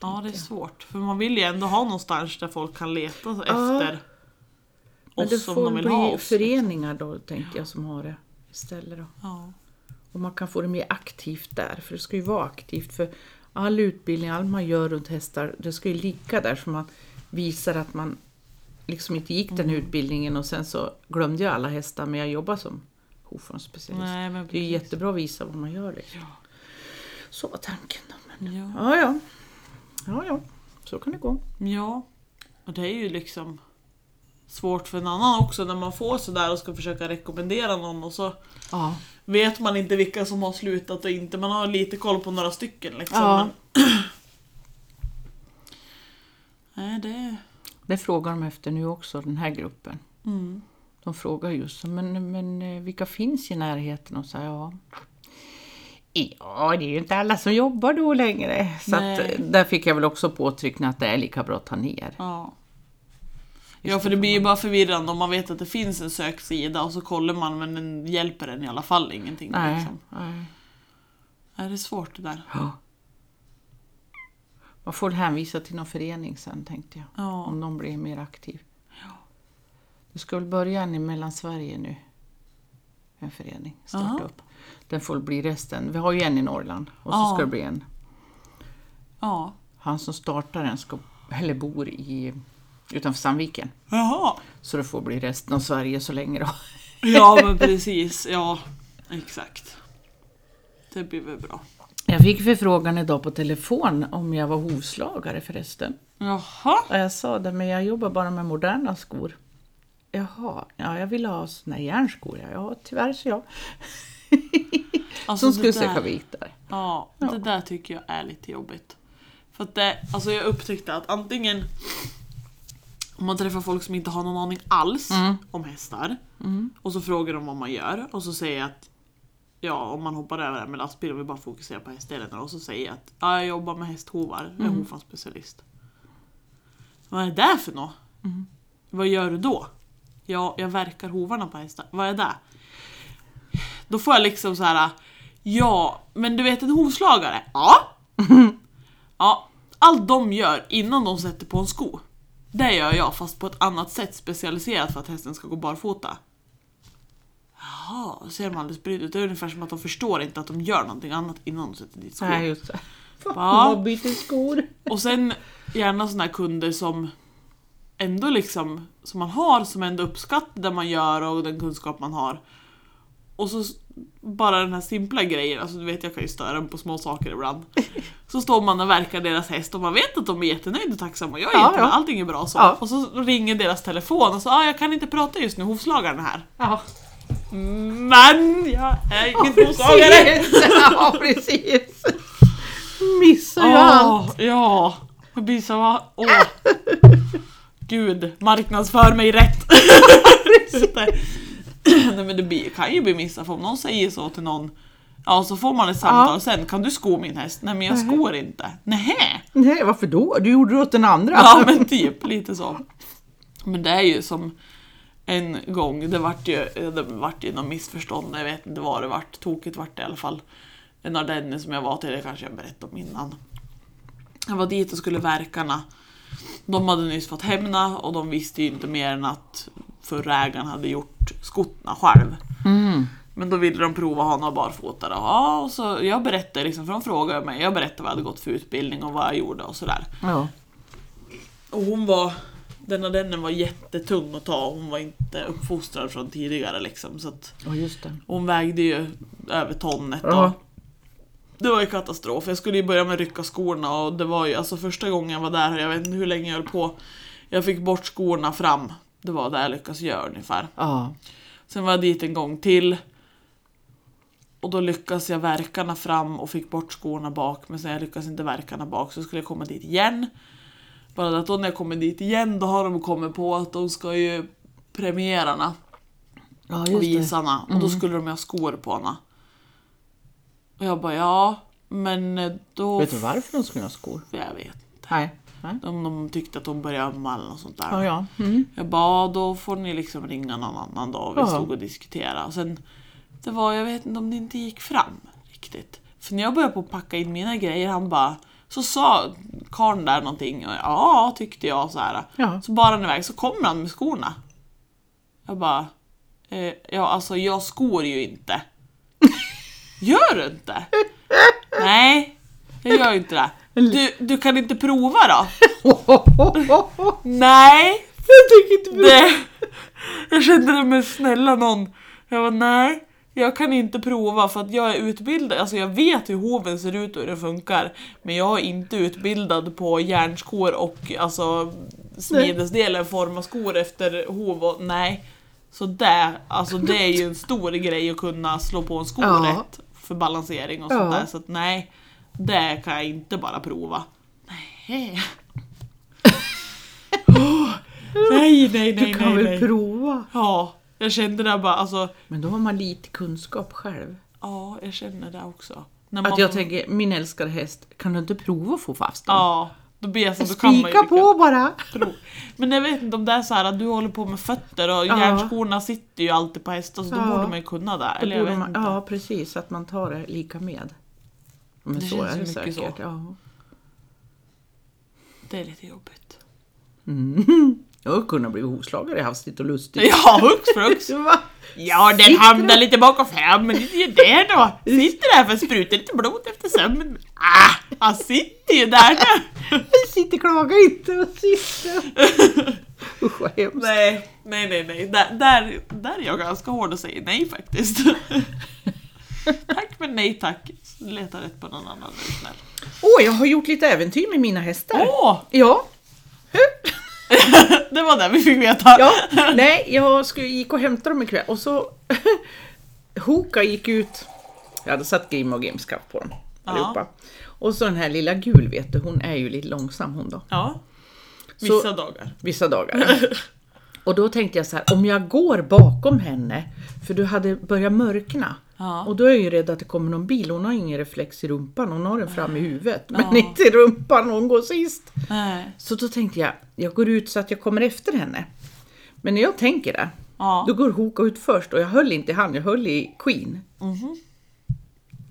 Speaker 1: Ja det är svårt. För man vill ju ändå ha någonstans där folk kan leta efter
Speaker 2: Men det
Speaker 1: oss om
Speaker 2: får
Speaker 1: de
Speaker 2: bli
Speaker 1: vill ha oss.
Speaker 2: föreningar då, tänkte jag, som har det istället. Då.
Speaker 1: Ja.
Speaker 2: Och man kan få det mer aktivt där, för det ska ju vara aktivt. För all utbildning, allt man gör runt hästar, det ska ju ligga där så man visar att man liksom inte gick den här utbildningen och sen så glömde jag alla hästar, men jag jobbar som hovformsspecialist.
Speaker 1: Nej, men
Speaker 2: Det är ju
Speaker 1: precis.
Speaker 2: jättebra att visa vad man gör. Liksom. Så var tanken. Då, men...
Speaker 1: Ja.
Speaker 2: ja, ja. ja, ja. Så kan det gå.
Speaker 1: ja. Och det är ju liksom svårt för en annan också när man får sådär och ska försöka rekommendera någon och så
Speaker 2: Ja.
Speaker 1: vet man inte vilka som har slutat och inte. Man har lite koll på några stycken liksom.
Speaker 2: Ja.
Speaker 1: Men... (clears throat) Nej det...
Speaker 2: Det frågar de efter nu också, den här gruppen.
Speaker 1: Mm.
Speaker 2: De frågar just så, men, men eh, vilka finns i närheten? Och så här, ja. ja, det är ju inte alla som jobbar då längre. Så att,
Speaker 1: Nej.
Speaker 2: eh, där fick jag väl också påtryckning att det är lika bra att ta ner.
Speaker 1: Ja. Ja för det blir ju bara förvirrande om man vet att det finns en söksida och så kollar man men den hjälper den i alla fall ingenting.
Speaker 2: Nej.
Speaker 1: Liksom.
Speaker 2: nej.
Speaker 1: Är det svårt det där?
Speaker 2: Ja. Man får hänvisa till någon förening sen tänkte jag.
Speaker 1: Ja.
Speaker 2: Om de blir mer aktiv. Det ska väl börja en i Mellansverige nu. En förening starta
Speaker 1: Aha.
Speaker 2: upp. Den får bli resten. Vi har ju en i Norrland och så
Speaker 1: Ja.
Speaker 2: ska det bli en
Speaker 1: ja.
Speaker 2: Han som startar den ska, eller bor i, utanför Sandviken.
Speaker 1: Jaha.
Speaker 2: Så det får bli resten av Sverige så länge då.
Speaker 1: Ja men precis, ja. Exakt. Det blir väl bra.
Speaker 2: Jag fick förfrågan idag på telefon om jag var hovslagare förresten.
Speaker 1: Jaha.
Speaker 2: Och jag sa det, men jag jobbar bara med moderna skor. Jaha, ja jag vill ha såna här järnskor. Ja, ja tyvärr så ja.
Speaker 1: Alltså,
Speaker 2: Som
Speaker 1: det
Speaker 2: skulle
Speaker 1: där-
Speaker 2: söka vit där.
Speaker 1: Ja, det där tycker jag är lite jobbigt. För att det, alltså jag upptäckte att antingen om man träffar folk som inte har någon aning alls om hästar och så frågar de vad man gör och så säger jag att ja, om man hoppar över det här med lastbil och vill bara fokusera på hästdelen och så säger jag att ja, jag jobbar med hästhovar, jag är hovanspecialist. Vad är det där för något? Vad gör du då? Ja, jag verkar hovarna på hästar. Vad är det? Då får jag liksom så här. Ja, men du vet en hovslagare? Ja. ja. Allt de gör innan de sätter på en sko. Det gör jag fast på ett annat sätt specialiserat för att hästen ska gå barfota. Jaha, då ser de alldeles brydd ut. Det är ungefär som att de förstår inte att de gör någonting annat innan de sätter dit skon.
Speaker 2: Nej, just det. Fan,
Speaker 1: Ja.
Speaker 2: vad byter skor.
Speaker 1: Och sen gärna såna här kunder som ändå liksom, som man har, som ändå uppskattar det man gör och den kunskap man har. Och så s- bara den här simpla grejen, alltså du vet jag kan ju störa mig på små
Speaker 2: (laughs)
Speaker 1: saker ibland. Så står man och verkar deras häst och man vet att de är jättenöjda och tacksamma och jag är
Speaker 2: Ja,
Speaker 1: jättenöjd,
Speaker 2: ja.
Speaker 1: allting är bra så.
Speaker 2: Ja.
Speaker 1: Och så ringer deras telefon och så ah, jag kan inte prata just nu, hovslagaren är här.
Speaker 2: Ja, Mm.
Speaker 1: Men jag är ingen hovslagare!
Speaker 2: precis. Ja, precis. Missar ju allt.
Speaker 1: Åh, Ah, ja, jag blir så va- Åh. Gud, marknadsför mig rätt. Nej. Nej, men det blir, kan ju bli missa för om någon säger så till någon Ja, så får man ett samtal sen. Kan du sko min häst? Nej, men jag skor inte. Nähä?
Speaker 2: Nej, varför då? Du gjorde det åt den andra.
Speaker 1: Ja, men typ lite så. Men det är ju som en gång, det vart ju, det vart ju något missförstånd, jag vet inte vad det vart, tokigt vart det i alla fall. En ardenner som jag var till, det kanske jag berättade om innan. Jag var dit och skulle verkarna. De hade nyss fått hämna och de visste ju inte mer än att förra ägaren hade gjort skottna själv.
Speaker 2: Mm.
Speaker 1: Men då ville de prova att ha några barfota då. Ja, och så jag berättade liksom, för de frågade mig, jag berättade vad jag hade gått för utbildning och vad jag gjorde och sådär.
Speaker 2: Ja.
Speaker 1: Och hon var, denna dennen var jättetung att ta, hon var inte uppfostrad från tidigare liksom. Så att
Speaker 2: Ja, just det.
Speaker 1: hon vägde ju över tonnet.
Speaker 2: Ja.
Speaker 1: Och det var ju katastrof, jag skulle ju börja med att rycka skorna och det var ju, alltså första gången jag var där, jag vet inte hur länge jag höll på. Jag fick bort skorna fram, det var det jag lyckades göra ungefär.
Speaker 2: Ja.
Speaker 1: Sen var jag dit en gång till. Och då lyckas jag verkarna fram och fick bort skorna bak. Men sen jag lyckas inte verkarna bak så skulle jag komma dit igen. Bara det att då när jag kommer dit igen då har de kommit på att de ska ju premiärerna
Speaker 2: ja,
Speaker 1: och
Speaker 2: just det. Mm.
Speaker 1: visarna. Och då skulle de ju ha skor på henne. Och jag bara ja, men eh, då...
Speaker 2: Vet du varför de skulle ha skor?
Speaker 1: Jag vet.
Speaker 2: Nej. Nej.
Speaker 1: Om de tyckte att de började amma eller något sånt där.
Speaker 2: Ja, ja.
Speaker 1: (laughs)
Speaker 2: Mm.
Speaker 1: Jag bara, "Ja, då får ni liksom ringa någon annan dag. Vi
Speaker 2: Ja.
Speaker 1: stod och diskuterade. Och sen, det var, jag vet inte om det inte gick fram riktigt. För när jag började på att packa in mina grejer, han bara, så sa karln där någonting. Och jag, ja, tyckte jag så här.
Speaker 2: Ja.
Speaker 1: Så bar han iväg, så kommer han med skorna. Jag bara, eh, ja alltså jag skor ju
Speaker 2: (laughs)
Speaker 1: inte. Gör du inte? Nej, jag gör ju inte det. Du, du kan inte prova då? Nej,
Speaker 2: Jag tycker inte det.
Speaker 1: Nej. Jag kände det med snälla någon. Jag var nej. Jag kan inte prova för att jag är utbildad, alltså jag vet hur hoven ser ut och hur den funkar. Men jag är inte utbildad på järnskor och alltså smidesdelen, forma skor efter hov och nej. Så det, alltså det är ju en stor grej att kunna slå på en sko
Speaker 2: Ja.
Speaker 1: rätt för balansering och
Speaker 2: Ja.
Speaker 1: sånt där. Så att nej, det kan jag inte bara prova. (laughs) Nej. Åh, Oh. nej, nej, nej,
Speaker 2: Du kan
Speaker 1: nej,
Speaker 2: väl
Speaker 1: nej.
Speaker 2: prova?
Speaker 1: Ja, jag kände det bara, alltså,
Speaker 2: Men då har man lite kunskap själv.
Speaker 1: ja, jag känner det också. När
Speaker 2: Att jag tänker, min älskade häst, kan du inte prova att få fast den?
Speaker 1: ja, då blir jag så, då kan man ju
Speaker 2: Spika
Speaker 1: lika
Speaker 2: på bara!
Speaker 1: tro. Men jag vet inte om det är så här att du håller på med fötter och
Speaker 2: Ja.
Speaker 1: järnskorna sitter ju alltid på hästar så då
Speaker 2: Ja.
Speaker 1: borde man ju kunna det.
Speaker 2: Då
Speaker 1: Eller jag
Speaker 2: borde
Speaker 1: vet
Speaker 2: man,
Speaker 1: inte.
Speaker 2: ja precis, så att man tar det lika med. Men
Speaker 1: Det
Speaker 2: så
Speaker 1: känns
Speaker 2: är
Speaker 1: ju
Speaker 2: det
Speaker 1: mycket
Speaker 2: säkert.
Speaker 1: så.
Speaker 2: Ja.
Speaker 1: Det är lite jobbigt.
Speaker 2: Mm. (laughs) Jag har kunnat bli hovslagare hastigt och lustigt.
Speaker 1: (laughs) Ja, hux
Speaker 2: (laughs)
Speaker 1: flux.
Speaker 2: Va?
Speaker 1: Ja, den
Speaker 2: Sitter
Speaker 1: hamnar lite bakom fram, men det är ju det då. Sitter där för att spruta lite blod efter sömnen. Ah, han sitter ju där nu.
Speaker 2: Sitter, klaga inte och sitter. Usch vad hemskt.
Speaker 1: (laughs) Nej, nej, nej, nej. Där, där, där är jag ganska hård och säger nej faktiskt. (laughs) tack men nej tack. Leta rätt på någon annan nu snäll.
Speaker 2: Åh, jag har gjort lite äventyr med mina hästar.
Speaker 1: Åh!
Speaker 2: Ja.
Speaker 1: (laughs) det var det vi fick veta.
Speaker 2: ja. Nej, jag skulle, gick och hämtade dem ikväll och så (laughs) Hoka gick ut, jag hade satt Grim och Grimskaft på dem allihopa. Och så den här lilla gul vet du, hon är ju lite långsam hon då.
Speaker 1: (laughs) Ja.
Speaker 2: Så-
Speaker 1: Vissa dagar.
Speaker 2: Vissa dagar.
Speaker 1: (laughs)
Speaker 2: Och då tänkte jag så här, om jag går bakom henne, för du hade börjat mörkna.
Speaker 1: Ja.
Speaker 2: Och då är jag ju rädd att det kommer någon bil, hon har ingen reflex i rumpan, hon har den fram i huvudet. Men inte i rumpan, hon går sist.
Speaker 1: Nej.
Speaker 2: Så då tänkte jag, jag går ut så att jag kommer efter henne. Men när jag tänker det,
Speaker 1: Ja.
Speaker 2: då går Hoka ut först och jag höll inte i han, jag höll i Queen.
Speaker 1: Mhm.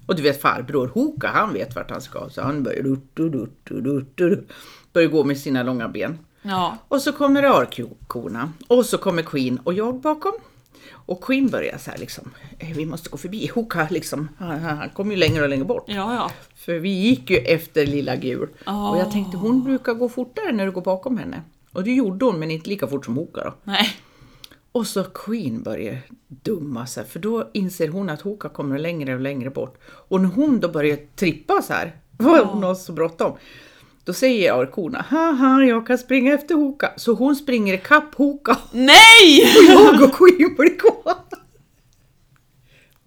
Speaker 2: Och du vet farbror Hoka, han vet vart han ska. Så han börjar, dut, dut, dut, dut, dut, börjar gå med sina långa ben.
Speaker 1: Ja.
Speaker 2: Och så kommer örkorna och så kommer Queen och jag bakom. Och Queen börjar så här liksom, eh, vi måste gå förbi (laughs) Hoka liksom. Han, han, han kommer ju längre och längre bort.
Speaker 1: Ja, ja.
Speaker 2: För vi gick ju efter lilla gul.
Speaker 1: Ah.
Speaker 2: Och jag tänkte hon brukar gå fortare när du går bakom henne. Och det gjorde hon men inte lika fort som Hoka då.
Speaker 1: Nej.
Speaker 2: Och så Queen börjar dumma sig för då inser hon att Hoka kommer längre och längre bort. Och när hon då börjar trippa så här, (laughs) för hon har så bråttom. Då säger örkorna, haha jag kan springa efter Hoka. Så hon springer ikapp Hoka
Speaker 1: Nej!
Speaker 2: och jag och Queen blir kvar.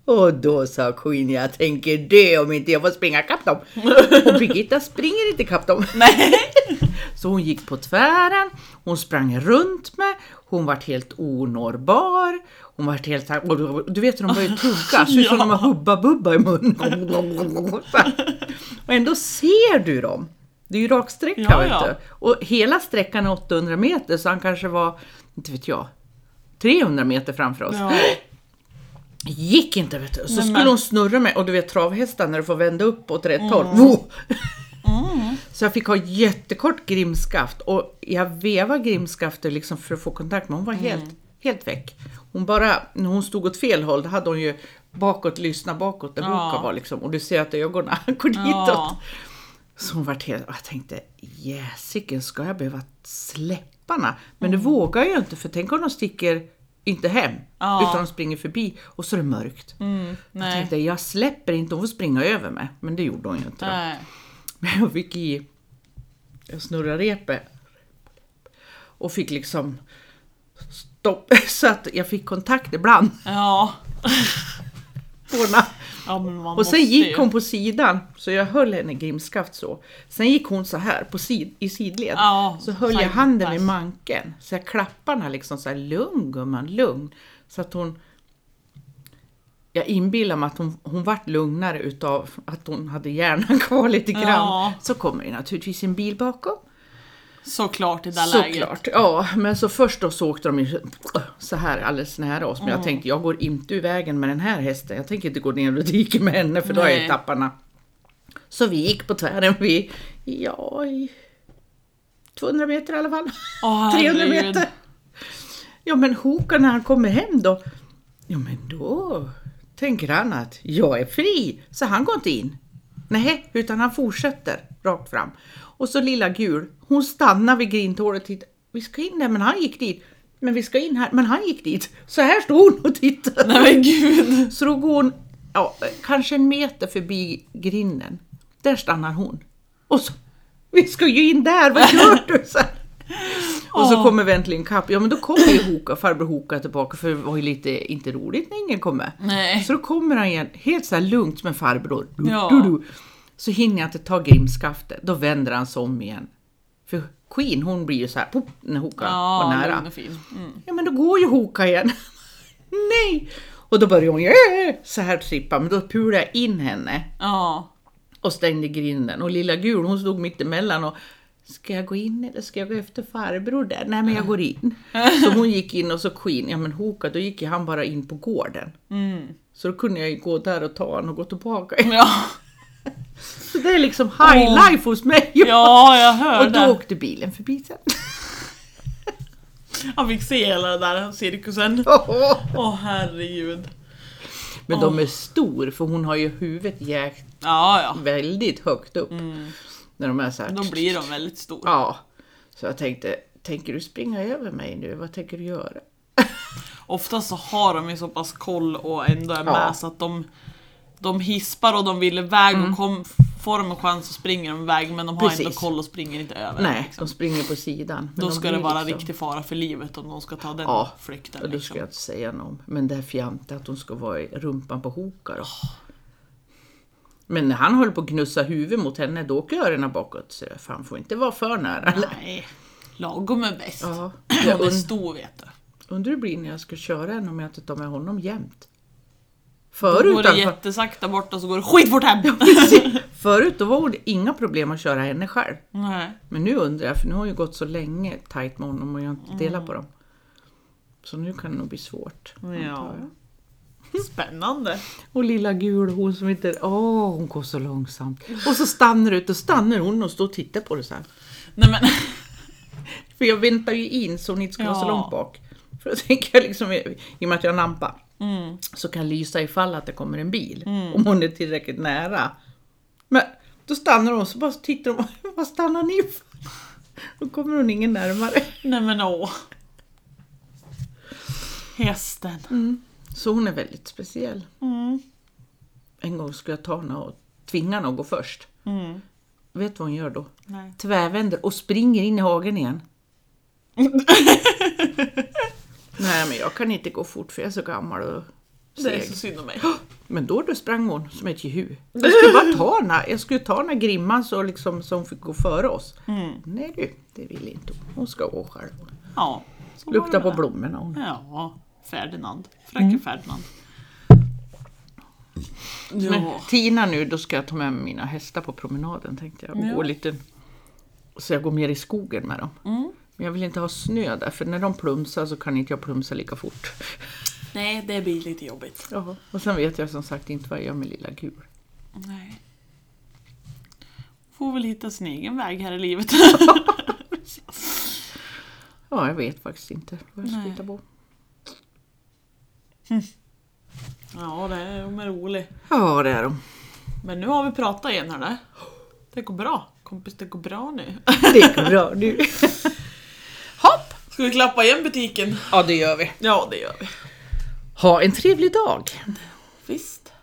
Speaker 2: Och då sa Queen, jag tänker det om inte jag får springa ikapp dem. Och Birgitta springer inte ikapp dem.
Speaker 1: Nej.
Speaker 2: (laughs) Så hon gick på tvären, hon sprang runt med, hon vart helt onårbar. Hon vart helt så här- Du vet hur de började tugga, så ut som de
Speaker 1: (laughs)
Speaker 2: har Hubba Bubba i munnen. Så här. Och ändå ser du dem. Det är ju raksträcka
Speaker 1: Ja,
Speaker 2: vet
Speaker 1: ja.
Speaker 2: du. Och hela sträckan är 800 meter så han kanske var, inte vet jag, 300 meter framför oss.
Speaker 1: Ja.
Speaker 2: Gick inte vet du. Så
Speaker 1: Nej,
Speaker 2: skulle
Speaker 1: men-
Speaker 2: hon snurra mig och du vet travhästar när du får vända upp åt rätt håll.
Speaker 1: Mm.
Speaker 2: Wo! Så jag fick ha jättekort grimskaft och jag vevade grimskaftet liksom för att få kontakt men hon var helt,
Speaker 1: Mm.
Speaker 2: helt väck. Hon bara, när hon stod åt fel håll, då hade hon ju bakåt, lyssna bakåt där
Speaker 1: Ja.
Speaker 2: Hoka var liksom. Och du ser att ögonen (laughs) går ditåt.
Speaker 1: Ja.
Speaker 2: Så hon vart helt, och jag tänkte jäsiken ska jag behöva släpparna? Men
Speaker 1: Mm.
Speaker 2: det vågar jag ju inte för tänk om de sticker, inte hem,
Speaker 1: Ja.
Speaker 2: utan de springer förbi och så är det mörkt.
Speaker 1: Mm,
Speaker 2: Jag
Speaker 1: nej.
Speaker 2: tänkte jag släpper inte, hon får springa över mig. Men det gjorde hon ju inte. då.
Speaker 1: Nej.
Speaker 2: (laughs) Men jag fick i, jag snurrade repet och fick liksom stopp, (laughs) så att jag fick kontakt (laughs) ibland.
Speaker 1: Ja.
Speaker 2: Tårna.
Speaker 1: ja men man
Speaker 2: Och sen
Speaker 1: måste ju.
Speaker 2: gick hon på sidan, så jag höll henne i grimskaft så. Sen gick hon så här på sid, i sidled.
Speaker 1: Ja,
Speaker 2: så höll jag
Speaker 1: side-
Speaker 2: handen i
Speaker 1: side.
Speaker 2: manken. Så jag klappade henne liksom så här, lugn gumman, lugn. Så att hon... Jag inbillar mig att hon, hon vart lugnare utav att hon hade hjärnan (laughs) kvar lite grann.
Speaker 1: Ja.
Speaker 2: Så kommer det naturligtvis en bil bakom.
Speaker 1: Såklart i det där läget.
Speaker 2: Såklart, ja. Men så först då så åkte de ju så här alldeles nära oss. Men
Speaker 1: Mm.
Speaker 2: jag tänkte, jag går inte ur vägen med den här hästen. Jag tänker inte gå ner och dika med henne för då har jag ju
Speaker 1: Nej.
Speaker 2: tappat henne. Så vi gick på tvären, vi, ja, i 200 meter i alla fall.
Speaker 1: Åh,
Speaker 2: 300
Speaker 1: herregud.
Speaker 2: meter. Ja men Hoka när han kommer hem då, ja men då tänker han att jag är fri, så han går inte in. Nej, utan han fortsätter rakt fram. Och så lilla gul, hon stannar vid grindhålet och tittar. Vi ska in där, men han gick dit. Men vi ska in här, men han gick dit. Så här står hon och tittar.
Speaker 1: Nej men gud.
Speaker 2: Så då går hon ja, kanske en meter förbi grinden. Där stannar hon. Och så, vi ska ju in där, vad gör du? Så här. Och så
Speaker 1: Åh.
Speaker 2: kommer vi äntligen kapp. Ja men då kommer ju Hoka, farbror Hoka tillbaka för det var ju lite inte roligt när ingen kom med.
Speaker 1: Nej.
Speaker 2: Så då kommer han igen, helt så här lugnt med farbror. Du,
Speaker 1: Ja.
Speaker 2: du, du. Så hinner jag inte ta grimskaftet, då vänder han sig om igen. För Queen hon blir ju så här, pop, när Hoka var
Speaker 1: Ja,
Speaker 2: nära.
Speaker 1: lugn och fin. Mm.
Speaker 2: Ja men då går ju Hoka igen. (laughs) Nej! Och då börjar hon "Äh!" så här trippa, men då pulade jag in henne
Speaker 1: Ja.
Speaker 2: och stängde grinden. Och lilla gul hon stod mitt emellan och Ska jag gå in eller ska jag gå efter farbror där? Nej men jag går in.
Speaker 1: (laughs)
Speaker 2: Så hon gick in och så Queen, ja men Hoka då gick ju han bara in på gården.
Speaker 1: Mm.
Speaker 2: Så då kunde jag ju gå där och ta honom och gå tillbaka. (laughs)
Speaker 1: Ja.
Speaker 2: Så det är liksom high
Speaker 1: Åh.
Speaker 2: life hos mig!
Speaker 1: ja, jag
Speaker 2: (laughs)
Speaker 1: hörde.
Speaker 2: och då åkte bilen förbi
Speaker 1: (laughs)
Speaker 2: sen. (laughs)
Speaker 1: Han fick se hela den där cirkusen. Åh herregud.
Speaker 2: Men de är stor för hon har ju huvudet jäkt
Speaker 1: Ja, ja.
Speaker 2: väldigt högt upp. När de är så här.
Speaker 1: Då blir Mm. de väldigt stora.
Speaker 2: Ja. Så jag tänkte, tänker du springa över mig nu? Vad tänker du göra?
Speaker 1: Oftast så har de ju så pass koll och ändå är med
Speaker 2: Ja.
Speaker 1: så att de, de hispar och de vill iväg och kom, Får de en chans så springer de iväg men de har
Speaker 2: Mm. Precis.
Speaker 1: inte koll och springer inte över.
Speaker 2: Nej, de springer på sidan. Men
Speaker 1: liksom. Då
Speaker 2: de
Speaker 1: ska
Speaker 2: blir
Speaker 1: det vara
Speaker 2: liksom-
Speaker 1: riktig fara för livet om de ska ta den
Speaker 2: Ja,
Speaker 1: flykten.
Speaker 2: Och då
Speaker 1: liksom.
Speaker 2: ska jag inte säga något om. Men det här fjantet att hon ska vara i rumpan på Hoka då. Men när han höll på att gnussa huvudet mot henne, då åker öronen bakåt. Så jag, fan, får inte vara för nära.
Speaker 1: Nej, lagom är bäst.
Speaker 2: Ja.
Speaker 1: Och (clears throat) det
Speaker 2: Und,
Speaker 1: är stor vet du.
Speaker 2: undrar hur det blir när jag ska köra henne om jag inte tar med honom jämt.
Speaker 1: Går
Speaker 2: Förut,
Speaker 1: det
Speaker 2: alltså,
Speaker 1: jättesakta bort och så går det skitfort hem!
Speaker 2: (laughs) förut då var det inga problem att köra henne själv.
Speaker 1: (laughs) Nej.
Speaker 2: Men nu undrar jag, för nu har jag ju gått så länge tajt med honom och jag har inte delat på dem. Så nu kan det nog bli svårt.
Speaker 1: Ja.
Speaker 2: antar jag.
Speaker 1: Spännande.
Speaker 2: Och lilla gul hon som inte... Åh, hon går så långsamt. Och så stannar du ut och stannar hon och står och tittar på det så här.
Speaker 1: Nej men, (laughs)
Speaker 2: För jag väntar ju in så hon inte ska vara så
Speaker 1: Ja.
Speaker 2: långt bak. För då tänker jag liksom, i i och med att jag har en lampa,
Speaker 1: Mm.
Speaker 2: så kan jag lysa ifall att det kommer en bil. Om hon är tillräckligt nära. Men då stannar hon så bara tittar hon. (laughs) Vad stannar ni för? Då kommer hon ingen närmare.
Speaker 1: nej men åh. Hästen.
Speaker 2: Så hon är väldigt speciell.
Speaker 1: Mm.
Speaker 2: En gång skulle jag ta henne och tvinga henne att gå först.
Speaker 1: Mm.
Speaker 2: Vet du vad hon gör då?
Speaker 1: Nej.
Speaker 2: tvärvänder och springer in i hagen
Speaker 1: (laughs)
Speaker 2: igen. Nej, men jag kan inte gå fort för jag är så gammal och
Speaker 1: Det är så
Speaker 2: seg.
Speaker 1: synd om mig.
Speaker 2: Men då, då sprang hon som ett jehu. Jag skulle bara ta henne, jag skulle ta henne grimman så liksom, så hon fick gå före oss.
Speaker 1: Mm.
Speaker 2: Nej du, det vill inte hon. Hon ska gå själv.
Speaker 1: (gasps) Ja. så var det
Speaker 2: Lukta
Speaker 1: med
Speaker 2: på
Speaker 1: det.
Speaker 2: blommorna hon.
Speaker 1: Ja, Ferdinand. Fröken Ferdinand. Ja.
Speaker 2: Men Tina nu, då ska jag ta med mig mina hästar på promenaden tänkte jag. Och
Speaker 1: Ja.
Speaker 2: gå lite, så jag går mer i skogen med dem.
Speaker 1: Mm.
Speaker 2: Men jag vill inte ha snö där, för när de plumsar så kan inte jag plumsa lika fort.
Speaker 1: Nej, det blir lite jobbigt.
Speaker 2: Ja, och sen vet jag som sagt inte vad jag gör med lilla gul.
Speaker 1: Nej. Får väl hitta sin egen väg här i livet. (laughs)
Speaker 2: Ja, jag vet faktiskt inte vad jag ska
Speaker 1: Nej.
Speaker 2: hitta på.
Speaker 1: ja, det är, de är rolig.
Speaker 2: Ja, det är de.
Speaker 1: Men nu har vi pratat igen hörde. Det går bra. Kompis, det går bra nu.
Speaker 2: Det går bra nu.
Speaker 1: Hopp! Ska vi klappa igen butiken?
Speaker 2: Ja, det gör vi.
Speaker 1: Ja, det gör vi.
Speaker 2: Ha en trevlig dag.
Speaker 1: Visst.